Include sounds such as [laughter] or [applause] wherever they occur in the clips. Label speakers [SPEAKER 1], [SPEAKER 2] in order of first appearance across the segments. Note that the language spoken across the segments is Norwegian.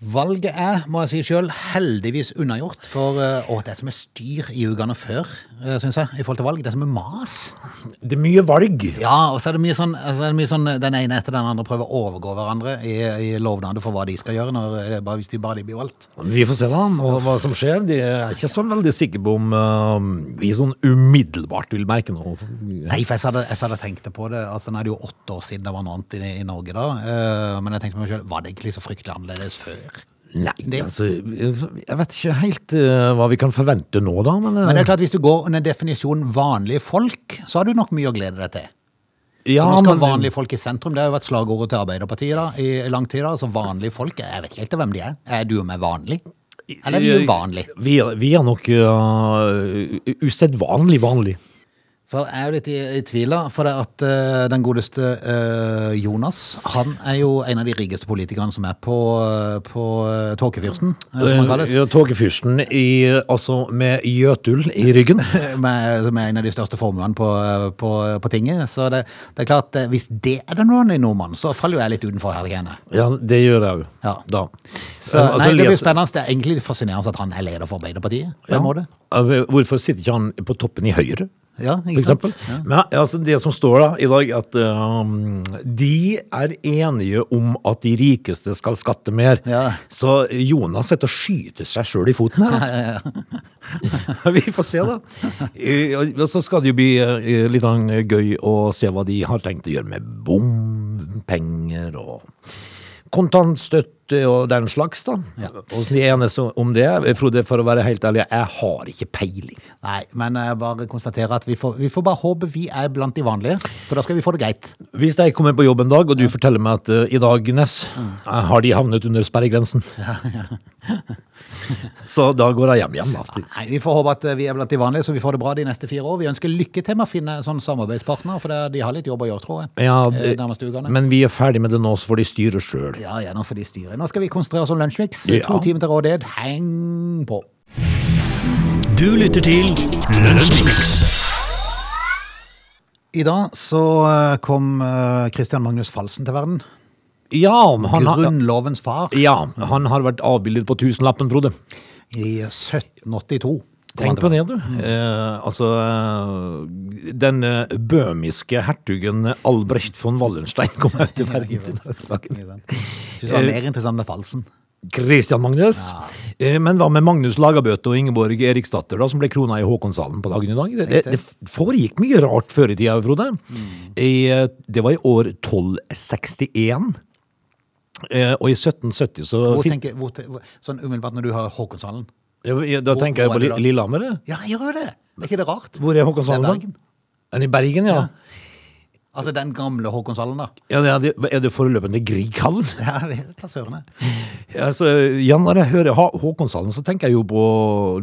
[SPEAKER 1] Valget er, må jeg si sjøl, heldigvis unnagjort. For eh, å, det er så mye styr i ukene før, eh, syns jeg, i forhold til valg. Det er så mye mas.
[SPEAKER 2] Det er mye valg.
[SPEAKER 1] Ja, og så er det mye sånn, altså, det er mye sånn eh, den ene etter den andre prøver å overgå hverandre i, i lovnader for hva de skal gjøre, når, eh, bare, hvis de bare de blir valgt.
[SPEAKER 2] Vi får se da, og hva som skjer. De er ikke så veldig sikre på om eh, vi sånn umiddelbart vil merke noe.
[SPEAKER 1] Nei, for jeg hadde, jeg hadde tenkt på det. Altså, Nå er det jo åtte år siden det var noe annet i, i Norge da. eh, men jeg tenkte på meg sjøl, var det egentlig så fryktelig annerledes før?
[SPEAKER 2] Nei,
[SPEAKER 1] Det-
[SPEAKER 2] altså Jeg vet ikke helt eh, hva vi kan forvente nå, da. Men, eh,
[SPEAKER 1] Men det er klart, hvis du går under definisjonen vanlige folk, så har du nok mye å glede deg til.
[SPEAKER 2] ja,
[SPEAKER 1] For nå skal
[SPEAKER 2] men-
[SPEAKER 1] vanlige folk i sentrum. Det har jo vært slagordet til Arbeiderpartiet da, i i lang tid. da. Altså vanlige folk, jeg vet ikke helt hvem de er. Er du og meg vanlig? Eller er vi uvanlig?
[SPEAKER 2] Vi, er- vi er nok eh, usedvanlig vanlig.
[SPEAKER 1] For jeg er jo litt i, i tvil, da. For det at eh, den godeste eh, Jonas, han er jo en av de rikeste politikerne som er på, eh, på eh, Tåkefyrsten, eh, som han kalles.
[SPEAKER 2] Ja, Togfyrsten i, altså med gjøtul i ryggen.
[SPEAKER 1] [laughs] Med, som er en av de største formuene på, eh, på, på tinget. Så det, det er klart, eh, hvis det er den vanlige nordmannen, så faller jo jeg litt utenfor her igjen.
[SPEAKER 2] Ja, det gjør jeg jo.
[SPEAKER 1] Ja.
[SPEAKER 2] Da.
[SPEAKER 1] Så,
[SPEAKER 2] Eh, altså,
[SPEAKER 1] nei, det blir
[SPEAKER 2] les-
[SPEAKER 1] spennende. Det er egentlig litt fascinerende at han er leder for Arbeiderpartiet. På en måte.
[SPEAKER 2] Eh, Hvorfor sitter ikke han på toppen i høyre?
[SPEAKER 1] Ja,
[SPEAKER 2] for
[SPEAKER 1] ikke sant?
[SPEAKER 2] eksempel.
[SPEAKER 1] Ja.
[SPEAKER 2] Men altså, det som står da i dag, at um, de er enige om at de rikeste skal skatte mer.
[SPEAKER 1] Ja.
[SPEAKER 2] Så Jonas sitter og skyter seg sjøl i foten her, altså. [laughs] Vi får se, da. Eh, Og så skal det jo bli eh, litt sånn gøy å se hva de har tenkt å gjøre med bompenger og kontantstøtte og den slags, da. Åssen de enes om det. Frode, for å være helt ærlig, jeg har ikke peiling.
[SPEAKER 1] Nei, men jeg bare konstaterer at vi får, vi får bare håpe vi er blant de vanlige, for da skal vi få det greit.
[SPEAKER 2] Hvis jeg kommer på jobb en dag, og du forteller meg at eh, i dag, Ness,
[SPEAKER 1] Mm.
[SPEAKER 2] eh, har de havnet under
[SPEAKER 1] [laughs]
[SPEAKER 2] sperregrensen. [laughs] Så da går jeg hjem igjen, da.
[SPEAKER 1] Nei, Vi får håpe at eh, vi er blant de vanlige, så vi får det bra de neste fire år. Vi ønsker lykke til med å finne sånn samarbeidspartner, for det- de har litt jobb å gjøre, tror jeg.
[SPEAKER 2] Ja,
[SPEAKER 1] eh,
[SPEAKER 2] det-
[SPEAKER 1] nærmeste ukene.
[SPEAKER 2] men vi er ferdig med det nå, så får de styre sjøl.
[SPEAKER 1] Ja, gjerne for de styrer. Nå skal vi konsentrere oss om lunsjmix.
[SPEAKER 2] Ja.
[SPEAKER 1] To timer til rådighet. Heng på.
[SPEAKER 3] Du lytter til Lunsjmix.
[SPEAKER 1] I dag så eh, kom eh, Christian Magnus Falsen til verden.
[SPEAKER 2] Ja, han har,
[SPEAKER 1] Grunnlovens far
[SPEAKER 2] ja, han har vært avbildet på tusenlappen, Frode.
[SPEAKER 1] i 1782.
[SPEAKER 2] Tenk på det, du.
[SPEAKER 1] Mm.
[SPEAKER 2] Eh, altså, eh, den eh, bøhmiske hertugen Albrecht von Wallenstein
[SPEAKER 1] [laughs]
[SPEAKER 2] kom ut til verden.
[SPEAKER 1] Ikke sant? Synes det var
[SPEAKER 2] Eh,
[SPEAKER 1] mer interessant med Falsen.
[SPEAKER 2] Christian Magnus. Eh, Men hva med Magnus Lagerbøte og Ingeborg Eriksdatter, da, som ble krona i Håkonshallen på dagen i dag? Det, det, det foregikk mye rart før i tida, Frode.
[SPEAKER 1] Mm.
[SPEAKER 2] I, eh, det var i år 1261. Eh, og i 1770 så
[SPEAKER 1] Hvor
[SPEAKER 2] fikk,
[SPEAKER 1] tenker, hvor, te- hvor, sånn umiddelbart når du hører Håkonshallen.
[SPEAKER 2] Ja, Da
[SPEAKER 1] hvor-
[SPEAKER 2] tenker
[SPEAKER 1] hvor
[SPEAKER 2] jeg på
[SPEAKER 1] er det
[SPEAKER 2] Li-
[SPEAKER 1] da?
[SPEAKER 2] Lillehammer. det.
[SPEAKER 1] Ja, jeg gjør jo det! Er ikke det rart?
[SPEAKER 2] Hvor er
[SPEAKER 1] Det
[SPEAKER 2] Håkonshallen?
[SPEAKER 1] er
[SPEAKER 2] da?
[SPEAKER 1] Bergen.
[SPEAKER 2] Er det i Bergen, ja.
[SPEAKER 1] Altså den gamle Håkonshallen, da.
[SPEAKER 2] [laughs] ja. det er det, er det forløpende Grieghallen? [laughs]
[SPEAKER 1] Ja, det er sørende.
[SPEAKER 2] Altså, ja, når jeg hører Hå- Håkonshallen, så tenker jeg jo på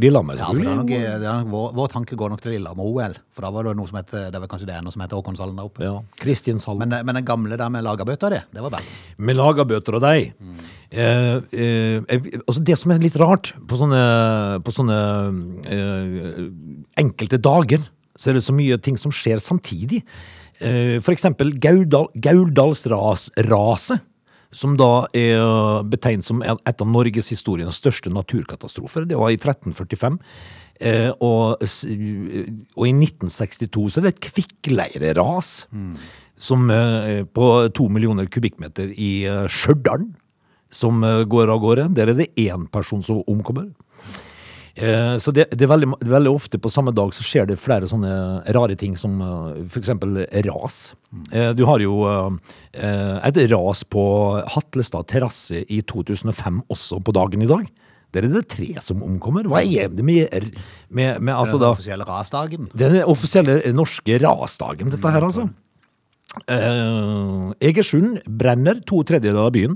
[SPEAKER 2] Lillehammer.
[SPEAKER 1] Ja, for det er nok,
[SPEAKER 2] selvfølgelig.
[SPEAKER 1] det er nok, vår, vår tanke går nok til Lillehammer-OL, for da var det noe som het, det var kanskje det er noe som heter Håkonshallen der oppe.
[SPEAKER 2] ja, Kristianshallen.
[SPEAKER 1] Men, men den gamle der med lagerbøtta, det, det var Bergen.
[SPEAKER 2] med lagerbøter og deg. Eh, eh, jeg- altså det som er litt rart på sånne, på sånne eh, enkelte dager, så er det så mye ting som skjer samtidig. Eh, for eksempel Gaudal, Gauldalsraset, som da er betegnet som en- et av Norges historiens største naturkatastrofer. Det var i 1345. Eh, og, s- og i 1962 så er det et kvikkleireras som eh, på to millioner kubikkmeter i eh, Stjørdal som eh, går av gårde. Der er det én person som omkommer. Eh, Så det, det, er veldig, ma- veldig ofte på samme dag så skjer det flere sånne rare ting som eh, for eksempel ras.
[SPEAKER 1] Mm.
[SPEAKER 2] Eh, Du har jo eh, et ras på Hatlestad terrasse i 2005 også på dagen i dag. Der er det tre som omkommer. Hva er det med, med, med altså
[SPEAKER 1] Den
[SPEAKER 2] da,
[SPEAKER 1] offisielle rasdagen.
[SPEAKER 2] den offisielle norske rasdagen, dette her, altså. Eh, Egersund brenner to tredjedeler av byen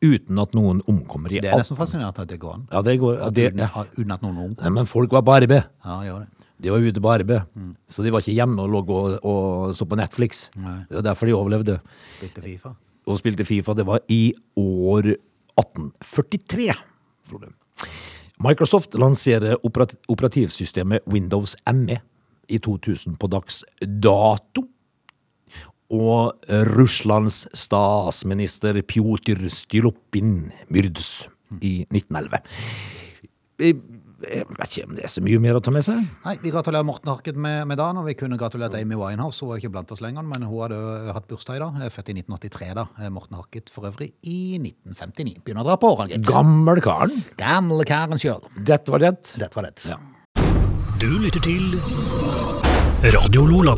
[SPEAKER 2] uten at noen omkommer i
[SPEAKER 1] Det er nesten fascinerende at det går an.
[SPEAKER 2] Ja, det går ja, det,
[SPEAKER 1] Uten,
[SPEAKER 2] ja.
[SPEAKER 1] uten at noen omkom.
[SPEAKER 2] Nei, Men folk var på arbeid.
[SPEAKER 1] Ja, det gjør det.
[SPEAKER 2] De var ute på arbeid. Så de var ikke hjemme og lå og, og så på Netflix.
[SPEAKER 1] Nei.
[SPEAKER 2] Det var derfor de overlevde.
[SPEAKER 1] Spilte Fifa.
[SPEAKER 2] Og spilte Fifa. Det var i år 1843, Frode. Microsoft lanserer operat operativsystemet Windows ME i 2000 på dags dato. Og Russlands statsminister Pjotr Stylopin myrdes i 1911. Jeg jeg vet ikke om det er så mye mer å ta med seg.
[SPEAKER 1] Nei, vi gratulerer Morten Harket med, med dagen, og vi kunne gratulert Amy Winehouse. Hun var ikke blant oss lenger, men hun hadde jo hatt bursdag i dag. Eh, Født i 1983, da. Eh, Morten Harket for øvrig i 1959. Begynner å dra på årene, gitt.
[SPEAKER 2] Gammel karen.
[SPEAKER 1] Gamle karen sjøl.
[SPEAKER 2] Dette var det.
[SPEAKER 1] Dette var det.
[SPEAKER 2] Ja.
[SPEAKER 3] Du lytter til Radio Lola.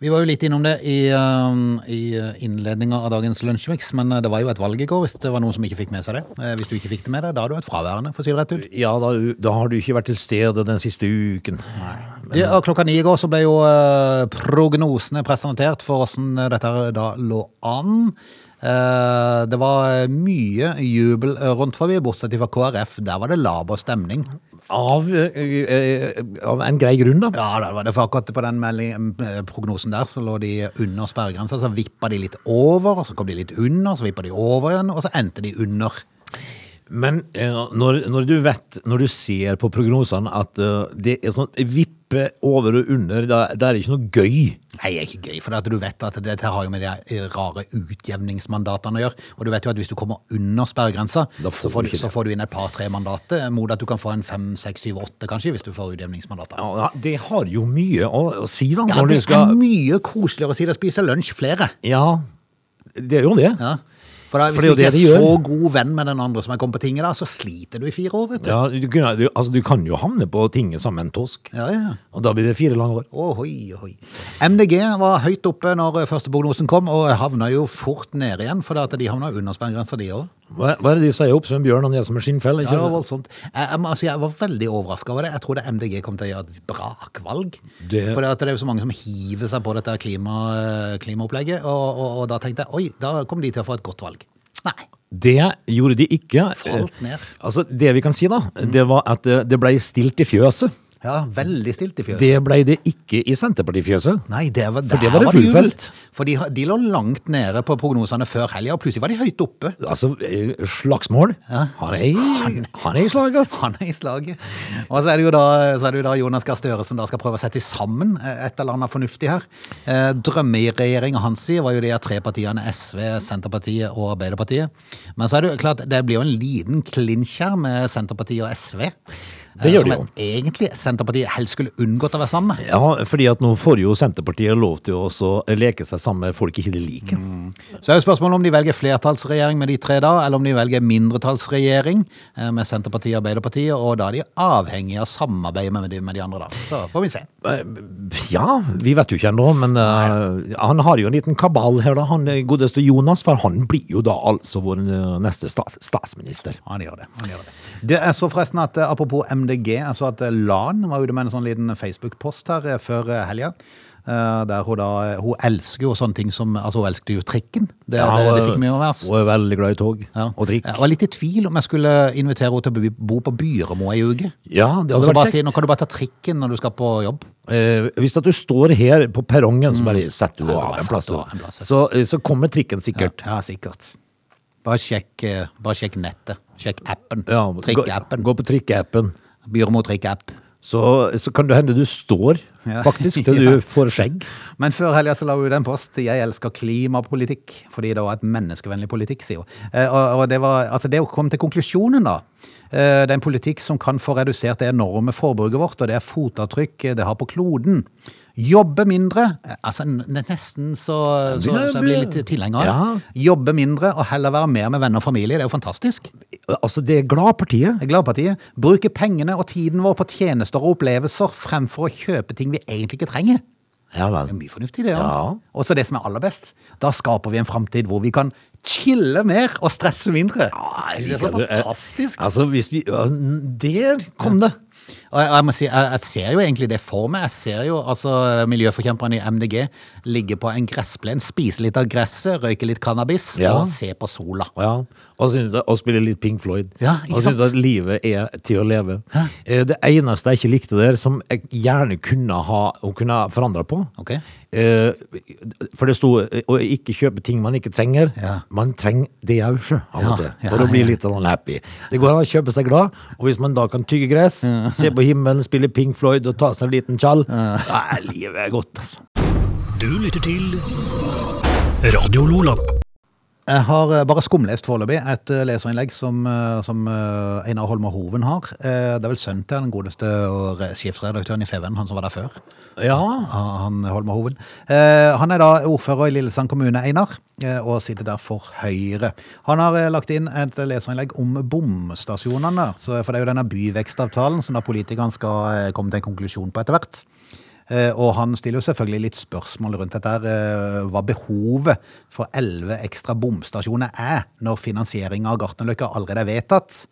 [SPEAKER 1] Vi var jo litt innom det i, um, i innledninga av dagens Lunsjmix, men eh, det var jo et valg i går hvis det var noen som ikke fikk med seg det. Eh, Hvis du ikke fikk det med deg, da er du et fraværende, for å si det rett ut.
[SPEAKER 2] Ja, da, da har du ikke vært til stede den siste uken. Nei.
[SPEAKER 1] Det, og klokka ni i går så ble jo eh, prognosene presentert for hvordan dette her da lå an. Eh, det var mye jubel rundt forbi, bortsett fra KrF. Der var det laber stemning.
[SPEAKER 2] Av, eh, eh, av en grei grunn, da.
[SPEAKER 1] Ja, det var det for akkurat på den melding, eh, prognosen der så lå de under sperregrensa. Så vippa de litt over, og så kom de litt under, så vippa de over igjen, og så endte de under.
[SPEAKER 2] Men eh, når, når du vet, når du ser på prognosene at eh, det er sånn vippe over og under, da, da er det ikke noe gøy.
[SPEAKER 1] Nei, det er ikke gøy, for at du vet at dette har jo med de rare utjevningsmandatene å gjøre. Og du vet jo at hvis du kommer under sperregrensa,
[SPEAKER 2] Da får
[SPEAKER 1] så, får
[SPEAKER 2] du
[SPEAKER 1] du-
[SPEAKER 2] ikke
[SPEAKER 1] så
[SPEAKER 2] det.
[SPEAKER 1] får du inn et par-tre mandater, mot at du kan få en fem, seks, syv, åtte kanskje, hvis du får utjevningsmandater.
[SPEAKER 2] Ja, det har jo mye å, å si, da.
[SPEAKER 1] Ja,
[SPEAKER 2] når
[SPEAKER 1] det
[SPEAKER 2] du skal
[SPEAKER 1] er mye koseligere å si det, spise lunsj flere.
[SPEAKER 2] Ja, det er jo det.
[SPEAKER 1] Ja. For da, hvis
[SPEAKER 2] For det er
[SPEAKER 1] du ikke er
[SPEAKER 2] jo det de gjør.
[SPEAKER 1] så god venn med den andre som er kommet på tinget da, så sliter du i fire år, vet du.
[SPEAKER 2] Ja, du, kunne- du, altså, du kan jo havne på tinget sammen med en tosk,
[SPEAKER 1] Ja, ja, ja.
[SPEAKER 2] og da blir det fire lange år.
[SPEAKER 1] Ohoi, ohoi. MDG var høyt oppe når første prognosen kom, og havna jo fort ned igjen, for at de havna under sperregrensa de òg.
[SPEAKER 2] Hva, hva er det de sier opp som en bjørn og ned som en skinnfell?
[SPEAKER 1] Ja, det var
[SPEAKER 2] Ikke?
[SPEAKER 1] voldsomt. Jeg, jeg, må- altså, jeg var veldig overraska over det. Jeg trodde MDG kom til å gjøre et brakvalg.
[SPEAKER 2] Det-
[SPEAKER 1] For det er jo så mange som hiver seg på dette klima, eh, klimaopplegget. Og, og, og da tenkte jeg oi, da kommer de til å få et godt valg. Nei.
[SPEAKER 2] det gjorde de ikke.
[SPEAKER 1] Falt ned.
[SPEAKER 2] Altså, det vi kan si, da, det var at eh, det ble stilt i fjøset.
[SPEAKER 1] Ja, veldig stilt i fjøset.
[SPEAKER 2] Det ble det ikke i Senterpartifjøset.
[SPEAKER 1] Nei, det var,
[SPEAKER 2] For det
[SPEAKER 1] der
[SPEAKER 2] var det
[SPEAKER 1] jubel.
[SPEAKER 2] full fest.
[SPEAKER 1] For de, de lå langt nede på prognosene før helga, og plutselig var de høyt oppe.
[SPEAKER 2] Altså, eh, slagsmål. Han er i, han er i slag, ass.
[SPEAKER 1] Han er i slaget. Og så er det jo da, så er det jo da Jonas Gahr Støre som da skal prøve å sette sammen eh, et eller annet fornuftig her. Eh, Drømmeregjeringa hans side var jo de her tre partiene SV, Senterpartiet og Arbeiderpartiet. Men så er det jo klart, det blir jo en liten klinsj her med Senterpartiet og SV. eh,
[SPEAKER 2] Det gjør
[SPEAKER 1] som
[SPEAKER 2] det jo.
[SPEAKER 1] er Egentlig Senterpartiet helst skulle unngått å være sammen med.
[SPEAKER 2] Ja, fordi at nå får jo Senterpartiet lov til å også leke seg sammen med folk ikke de liker.
[SPEAKER 1] Så er jo spørsmålet om de velger flertallsregjering med de tre da, eller om de velger mindretallsregjering eh, med Senterpartiet og Arbeiderpartiet, og da er de avhengige av samarbeid med de, med de andre da. Så får vi se.
[SPEAKER 2] Eh, Ja, vi vet jo ikke ennå, men eh, han har jo en liten kabal her, da. Han eh, godeste Jonas, for han blir jo da altså vår eh, neste stats statsminister.
[SPEAKER 1] Han gjør det. han gjør det. Det er så forresten at eh, Apropos MDG. Jeg så at eh, LAN var ute med en sånn liten Facebook-post her eh, før eh, helga. eh, Der hun da Hun elsker jo sånne ting som Altså, hun elsket jo trikken. Det,
[SPEAKER 2] Ja,
[SPEAKER 1] det, det
[SPEAKER 2] og-
[SPEAKER 1] fikk mye med oss.
[SPEAKER 2] Og er veldig glad i tog
[SPEAKER 1] Ja.
[SPEAKER 2] og trikk.
[SPEAKER 1] Jeg var litt i tvil om jeg skulle invitere henne til å bo- bo på Byremo ei uke.
[SPEAKER 2] Ja, det
[SPEAKER 1] Og
[SPEAKER 2] hadde
[SPEAKER 1] så bare
[SPEAKER 2] vært
[SPEAKER 1] si nå
[SPEAKER 2] kjekt.
[SPEAKER 1] kan du bare ta trikken når du skal på jobb.
[SPEAKER 2] Eh, hvis at du står her på perrongen, så bare setter
[SPEAKER 1] Mm.
[SPEAKER 2] du
[SPEAKER 1] Ja,
[SPEAKER 2] av
[SPEAKER 1] bare
[SPEAKER 2] en plass.
[SPEAKER 1] setter du
[SPEAKER 2] da.
[SPEAKER 1] av en plass, vet
[SPEAKER 2] Så, eh, så kommer trikken sikkert.
[SPEAKER 1] Ja, sikkert. Bare sjekk, eh, bare sjekk nettet. Sjekk appen.
[SPEAKER 2] Ja,
[SPEAKER 1] Trikkeappen.
[SPEAKER 2] Gå, gå på trikkeappen.
[SPEAKER 1] Byremo trikkeapp.
[SPEAKER 2] Så, så kan det hende du står,
[SPEAKER 1] Ja. [laughs]
[SPEAKER 2] faktisk, til
[SPEAKER 1] Ja.
[SPEAKER 2] du får skjegg.
[SPEAKER 1] Men før helga så la hun ut en post. Jeg elsker klimapolitikk, fordi det var et menneskevennlig politikk, sier hun. Eh, Og, og det var, altså det å komme til konklusjonen da, eh, det er en politikk som kan få redusert det enorme forbruket vårt, og det er fotavtrykk eh, det har på kloden. Jobbe mindre, eh, altså n- nesten så, så,
[SPEAKER 2] blir-
[SPEAKER 1] så jeg blir litt tilhenger av.
[SPEAKER 2] Ja.
[SPEAKER 1] Jobbe mindre og heller være mer med venner og familie, det er jo fantastisk.
[SPEAKER 2] Altså, det er glad partiet.
[SPEAKER 1] Gladpartiet bruker pengene og tiden vår på tjenester og opplevelser fremfor å kjøpe ting vi egentlig ikke trenger.
[SPEAKER 2] Ja
[SPEAKER 1] Det er
[SPEAKER 2] vel.
[SPEAKER 1] mye fornuftig, det.
[SPEAKER 2] Ja.
[SPEAKER 1] Og så det som er aller best. Da skaper vi en framtid hvor vi kan chille mer og stresse mindre.
[SPEAKER 2] Ja, jeg
[SPEAKER 1] det er
[SPEAKER 2] liker
[SPEAKER 1] så
[SPEAKER 2] det.
[SPEAKER 1] fantastisk.
[SPEAKER 2] Altså, hvis vi ja, Der kom det!
[SPEAKER 1] Og jeg, jeg må si, jeg, jeg ser jo egentlig det for meg. Jeg ser jo altså miljøforkjemperne i MDG ligge på en gressplen, spise litt av gresset, røyke litt cannabis
[SPEAKER 2] Ja.
[SPEAKER 1] og se på sola.
[SPEAKER 2] Ja, og, synes det, og spille litt Pink Floyd.
[SPEAKER 1] Ja, ikke
[SPEAKER 2] og synes
[SPEAKER 1] sant?
[SPEAKER 2] at livet er til å leve. Eh, Det eneste jeg ikke likte der, som jeg gjerne kunne ha og kunne forandra på
[SPEAKER 1] Ok.
[SPEAKER 2] eh, For det sto eh, å ikke kjøpe ting man ikke trenger.
[SPEAKER 1] Ja.
[SPEAKER 2] Man trenger det òg, sjø, av
[SPEAKER 1] Ja,
[SPEAKER 2] og til.
[SPEAKER 1] ja,
[SPEAKER 2] For å bli
[SPEAKER 1] ja.
[SPEAKER 2] litt sånn happy. Det går an å kjøpe seg glad, og hvis man da kan tygge gress, se på himmelen, spille Pink Floyd og ta seg en liten tjall, da er livet godt, altså.
[SPEAKER 3] Du lytter til Radio Lola.
[SPEAKER 1] Jeg har eh, bare skumlest foreløpig et eh, leserinnlegg som, eh, som eh, Einar Holmer Hoven har. Eh, Det er vel sønnen til den godeste og re- sjefsredaktøren i Feven, han som var der før.
[SPEAKER 2] Ja.
[SPEAKER 1] Ah, Han Holmer Hoven. Eh, Han er da ordfører i Lillesand kommune, Einar, eh, og sitter der for Høyre. Han har eh, lagt inn et leserinnlegg om bomstasjonene, så- for det er jo denne byvekstavtalen som da politikerne skal eh, komme til en konklusjon på etter hvert. Eh, Og han stiller jo selvfølgelig litt spørsmål rundt dette, her, eh, hva behovet for elleve ekstra bomstasjoner er når finansieringen av Gartnerløkka allerede er vedtatt.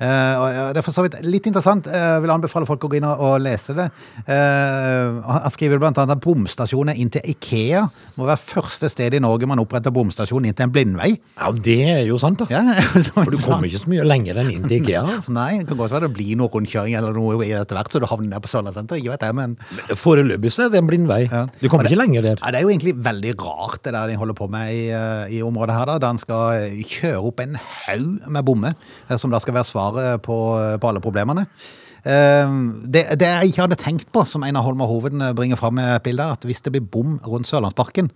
[SPEAKER 1] Eh, og, ja, Det er for så vidt litt interessant. Jeg vil anbefale folk å gå inn og- og lese det. Eh, Han han skriver blant annet at bomstasjoner inn til Ikea må være første sted i Norge man oppretter bomstasjon inn til en blindvei.
[SPEAKER 2] ja, det er jo sant, da.
[SPEAKER 1] Ja, [laughs] som
[SPEAKER 2] For du
[SPEAKER 1] en
[SPEAKER 2] kommer
[SPEAKER 1] sånn-
[SPEAKER 2] ikke så mye lenger enn inn til IKEA. altså.
[SPEAKER 1] Nei, det kan godt være det blir noe rundkjøring eller noe i etter hvert, så du havner der på Sørlandssenteret. Ikke vet jeg, men
[SPEAKER 2] Foreløpig så er det en blindvei.
[SPEAKER 1] Ja.
[SPEAKER 2] Du kommer ikke lenger der.
[SPEAKER 1] Ja, det er jo egentlig veldig rart det der de holder på med i, eh, i området her, da, der en skal eh, kjøre opp en haug med bommer, eh, som da skal være svaret på, eh, på alle problemene. Eh, Det, det jeg ikke hadde tenkt på, som Einar Holmer Hoven eh, bringer fram med et bilde, er at hvis det blir bom rundt Sørlandsparken,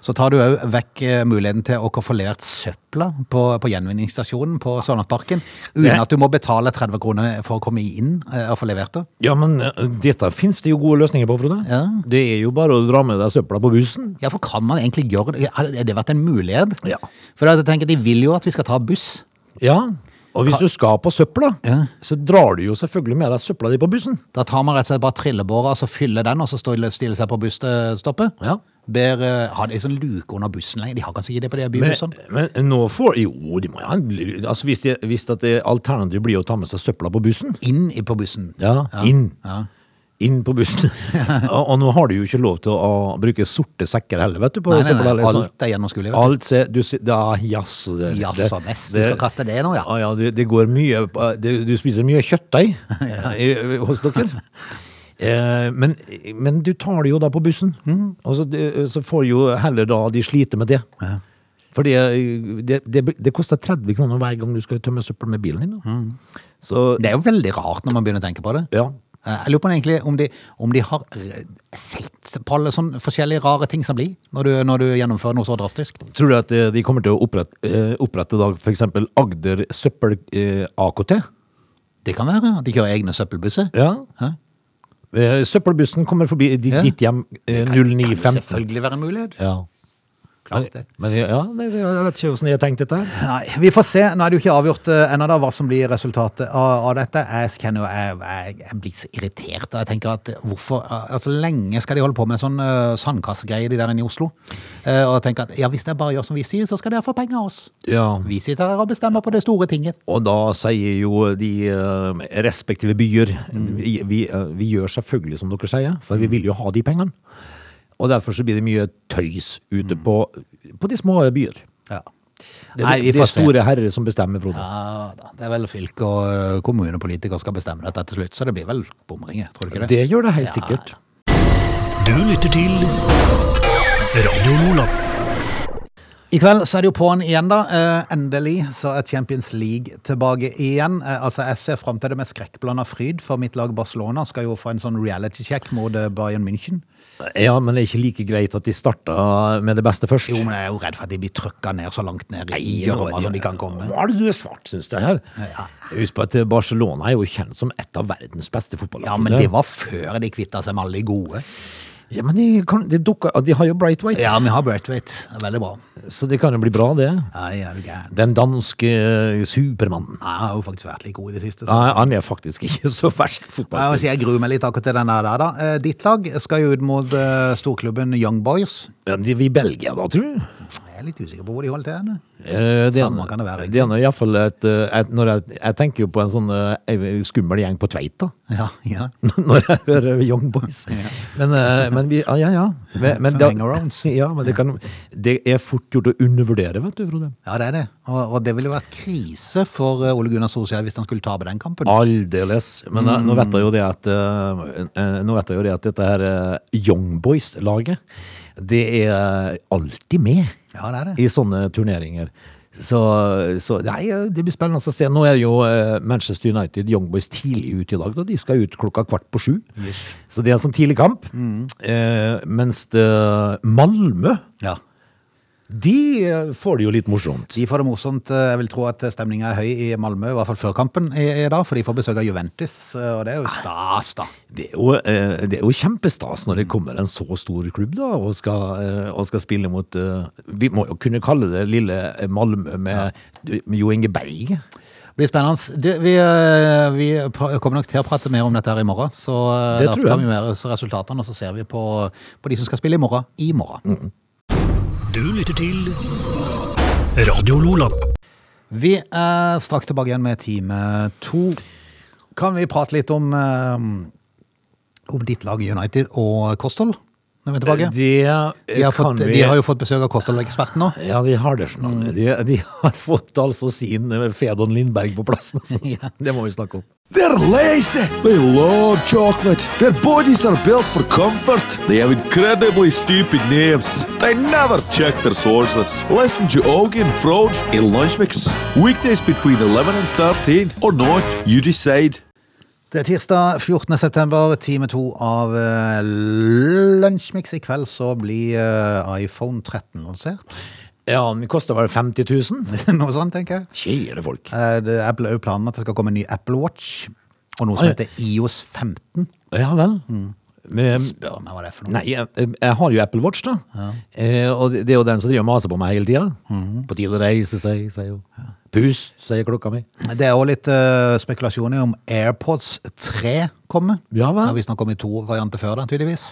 [SPEAKER 1] så tar du òg vekk eh, muligheten til å få levert søpla på, på gjenvinningsstasjonen på Sørlandsparken, uten
[SPEAKER 2] Det-
[SPEAKER 1] at du må betale 30 kroner for å komme inn eh, og få levert det.
[SPEAKER 2] Ja, men eh, dette finnes det jo gode løsninger på, Frode.
[SPEAKER 1] Ja.
[SPEAKER 2] Det er jo bare å dra med deg søpla på bussen.
[SPEAKER 1] Ja, for kan man egentlig gjøre det? Har det vært en mulighet?
[SPEAKER 2] Ja.
[SPEAKER 1] For jeg tenker, de vil jo at vi skal ta buss.
[SPEAKER 2] Ja. Og hvis du skal på søpla,
[SPEAKER 1] Ja.
[SPEAKER 2] så drar du jo selvfølgelig med deg søpla di på bussen.
[SPEAKER 1] Da tar man rett og slett bare trillebåra, så fyller den, og så stiller stiller seg på busstoppet.
[SPEAKER 2] Ja.
[SPEAKER 1] Ber, eh, har de sånn luke under bussen lenger? De har kanskje ikke det på de her sånn.
[SPEAKER 2] Men,
[SPEAKER 1] bybussene?
[SPEAKER 2] men nå får Jo, de må jo ha en- altså hvis, det- hvis at det alternativet blir å ta med seg søpla på bussen
[SPEAKER 1] Inn i- på bussen.
[SPEAKER 2] Ja, inn. Inn på bussen.
[SPEAKER 1] [laughs]
[SPEAKER 2] og, og nå har du jo ikke lov til å, å bruke sorte sekker heller, vet du. På
[SPEAKER 1] Nei, nei, nei,
[SPEAKER 2] søpla, eller sånn.
[SPEAKER 1] alt er gjennomskuelig. vet
[SPEAKER 2] Alt ser du, ser- da, Jaså, det,
[SPEAKER 1] du. Jaså, nesten. Du
[SPEAKER 2] det-
[SPEAKER 1] skal kaste det nå, ja.
[SPEAKER 2] Ah, ja, det, det går mye det, Du spiser mye
[SPEAKER 1] [laughs]
[SPEAKER 2] kjøttdeig eh, hos dere. Eh, men, men du tar det jo da på bussen,
[SPEAKER 1] Mm.
[SPEAKER 2] og så, det- så får jo heller da de sliter med det. For det, det, det, det koster 30 kroner hver gang du skal tømme søppel med bilen din. da.
[SPEAKER 1] Mm.
[SPEAKER 2] Så
[SPEAKER 1] Det er jo veldig rart når man begynner å tenke på det.
[SPEAKER 2] ja.
[SPEAKER 1] Eh, Jeg lurer på egentlig om de, om de har eh, sett på alle sånne forskjellige rare ting som blir, når du, når du gjennomfører noe så drastisk.
[SPEAKER 2] Tror du at eh, de kommer til å opprette, eh, opprette da f.eks. Agder søppel eh, AKT?
[SPEAKER 1] Det kan være at de kjører egne søppelbusser.
[SPEAKER 2] Ja.
[SPEAKER 1] Hæ?
[SPEAKER 2] Eh, søppelbussen kommer forbi di-
[SPEAKER 1] Ja.
[SPEAKER 2] ditt hjem eh,
[SPEAKER 1] Kan- Kan jo
[SPEAKER 2] 09.15.
[SPEAKER 1] selvfølgelig være en mulighet.
[SPEAKER 2] Ja.
[SPEAKER 1] Klart det.
[SPEAKER 2] Men ja, nei, det- jeg vet ikke hvordan jeg har tenkt dette. her.
[SPEAKER 1] Nei, vi får se. Nå er det jo ikke avgjort eh, ennå da, hva som blir resultatet av, av dette. Jeg kjenner jo, jeg, jeg, jeg blir så irritert. da. Jeg tenker at hvorfor, altså lenge skal de holde på med sånn uh, sandkassegreie de der inne i Oslo? Eh, og tenker at ja, hvis dere bare gjør som vi sier, så skal dere få penger av oss.
[SPEAKER 2] Ja.
[SPEAKER 1] Vi sitter her og bestemmer på det store tinget.
[SPEAKER 2] Og da sier jo de eh, respektive byer
[SPEAKER 1] Mm.
[SPEAKER 2] vi, vi, eh, vi gjør selvfølgelig som dere sier, for vi vil jo ha de pengene. Og derfor så blir det mye tøys ute på, på de små byer.
[SPEAKER 1] Ja.
[SPEAKER 2] Det,
[SPEAKER 1] Mm. Nei, vi
[SPEAKER 2] det er
[SPEAKER 1] får se.
[SPEAKER 2] store herrer som bestemmer, Frode.
[SPEAKER 1] Ja, da. det er vel fylke og eh, kommunepolitikere skal bestemme dette til slutt, så det blir vel bomringer, tror du ikke det?
[SPEAKER 2] det gjør det helt sikkert.
[SPEAKER 3] Du lytter til Radio Lola.
[SPEAKER 1] I kveld så er det jo på'n igjen, da. Eh, endelig så er Champions League tilbake igjen. Eh, altså, Jeg ser fram til det med skrekkblanda fryd, for mitt lag Barcelona skal jo få en sånn reality-check mot eh, Bayern München.
[SPEAKER 2] Ja, men det er ikke like greit at de starta med det beste først.
[SPEAKER 1] Jo, men jeg er jo redd for at de blir trøkka ned så langt ned i
[SPEAKER 2] Nei, nå-
[SPEAKER 1] gjørma som de kan komme.
[SPEAKER 2] Nå er det du er svart, syns jeg her. Husk på at Barcelona er jo kjent som et av verdens beste fotballag.
[SPEAKER 1] Ja, men det var før de kvitta seg med alle de gode.
[SPEAKER 2] Ja, men de, kan, de, dukker, de har jo Bright White,
[SPEAKER 1] Ja, vi har Braithwaite. Det er Veldig bra.
[SPEAKER 2] så det kan jo bli bra, det.
[SPEAKER 1] Nei, er du gæren.
[SPEAKER 2] Den danske eh, supermannen.
[SPEAKER 1] Nei, Jeg har jo faktisk vært litt god i det siste. Så.
[SPEAKER 2] Nei, han er faktisk [laughs] ikke så verst
[SPEAKER 1] Jeg, må si,
[SPEAKER 2] fotballspiller.
[SPEAKER 1] jeg gruer meg litt akkurat til den der, da. Eh, Ditt lag skal jo ut mot eh, storklubben Young Boys.
[SPEAKER 2] Ja, de- Vi i Belgia, da, tror du?
[SPEAKER 1] Jeg er litt usikker på hvor de holder til henne.
[SPEAKER 2] Eh, Det
[SPEAKER 1] Samme kan det være, egentlig.
[SPEAKER 2] Det ene er iallfall et, eh, et når jeg, jeg tenker jo på en sånn eh, skummel gjeng på Tveit, da. [laughs]
[SPEAKER 1] Ja, ja.
[SPEAKER 2] Når jeg hører Young
[SPEAKER 1] [laughs]
[SPEAKER 2] Boys. Men, eh, men vi Ja, ja. ja. Men, men
[SPEAKER 1] Som
[SPEAKER 2] det-
[SPEAKER 1] hangarounds.
[SPEAKER 2] [laughs] Ja, men det, kan, det er fort gjort å undervurdere, vet du, Frode.
[SPEAKER 1] ja, det er det. Og, og det ville jo vært krise for eh, Ole Gunnar Solskjær hvis han skulle tape den kampen.
[SPEAKER 2] Aldeles. Men eh, nå vet jeg jo det at eh, eh, Nå vet jeg jo det at dette her eh, Young Boys-laget, det er eh, alltid med.
[SPEAKER 1] Ja, det er det.
[SPEAKER 2] i sånne turneringer. Så, så nei, det blir spennende å se. Nå er jo eh, Manchester United Young Boys tidlig ute i dag. Da. De skal ut klokka kvart på sju. Så det er en sånn tidlig kamp. Eh, mens det, Malmö,
[SPEAKER 1] Ja.
[SPEAKER 2] de eh, får det jo litt morsomt.
[SPEAKER 1] De får det morsomt. Eh, Jeg vil tro at stemninga er høy i Malmö, i hvert fall før kampen i, i dag, for de får besøk av Juventus, eh, og det er jo stas, da.
[SPEAKER 2] Det er jo, eh, det er jo kjempestas når det kommer en så stor klubb da, og skal, eh, og skal spille mot eh, Vi må jo kunne kalle det lille Malmö med, med Jo Inge Berg.
[SPEAKER 1] Det blir spennende. Du, vi, eh, vi pr- kommer nok til å prate mer om dette her i morgen, så eh,
[SPEAKER 2] Det tror
[SPEAKER 1] derfor tar
[SPEAKER 2] jeg.
[SPEAKER 1] vi med oss resultatene, og så ser vi på, på de som skal spille i morgen, i morgen.
[SPEAKER 3] Du lytter til Radio Lola.
[SPEAKER 1] Vi er straks tilbake igjen med time to. Kan vi prate litt om, eh, om ditt lag United og kosthold når vi er tilbake?
[SPEAKER 2] Det
[SPEAKER 1] De har,
[SPEAKER 2] Eh, kan
[SPEAKER 1] fått,
[SPEAKER 2] vi-
[SPEAKER 1] de har jo Mm. fått besøk av kostholdeksperten nå.
[SPEAKER 2] Ja, de har det. Sånn. De, de har fått altså sin eh, Fedon Lindberg på plassen. Altså.
[SPEAKER 1] [laughs]
[SPEAKER 2] Det må vi snakke om.
[SPEAKER 4] They're lazy. They love chocolate. Their bodies are built for comfort. They have incredibly stupid names. They never check their sources. Listen to Augie and Frode in Lunch Mix. Weekdays between 11 and 13 or not, you decide.
[SPEAKER 1] Det er tirsdag 14. september, time to av eh, Lunsjmix. I kveld så blir eh, iPhone 13 lansert. [laughs]
[SPEAKER 2] Ja, den koster vel 50 000?
[SPEAKER 1] Noe sånt, tenker jeg.
[SPEAKER 2] Kjære folk.
[SPEAKER 1] Eh, det- Apple er jo planen at det skal komme en ny Apple Watch, og noe som
[SPEAKER 2] Oi.
[SPEAKER 1] heter IOS 15.
[SPEAKER 2] Ja vel. Men,
[SPEAKER 1] Mm. Spør meg hva det er for noe.
[SPEAKER 2] nei, jeg, jeg har jo Apple Watch, da. Eh, og det det er jo den som driver og maser på meg hele tida.
[SPEAKER 1] Mhm.
[SPEAKER 2] På tide å reise seg, sier hun. Pust, sier klokka mi.
[SPEAKER 1] Det er også litt eh, spekulasjoner om AirPods 3 kommer.
[SPEAKER 2] Ja vel.
[SPEAKER 1] Det har visstnok kommet to varianter før, da, tydeligvis.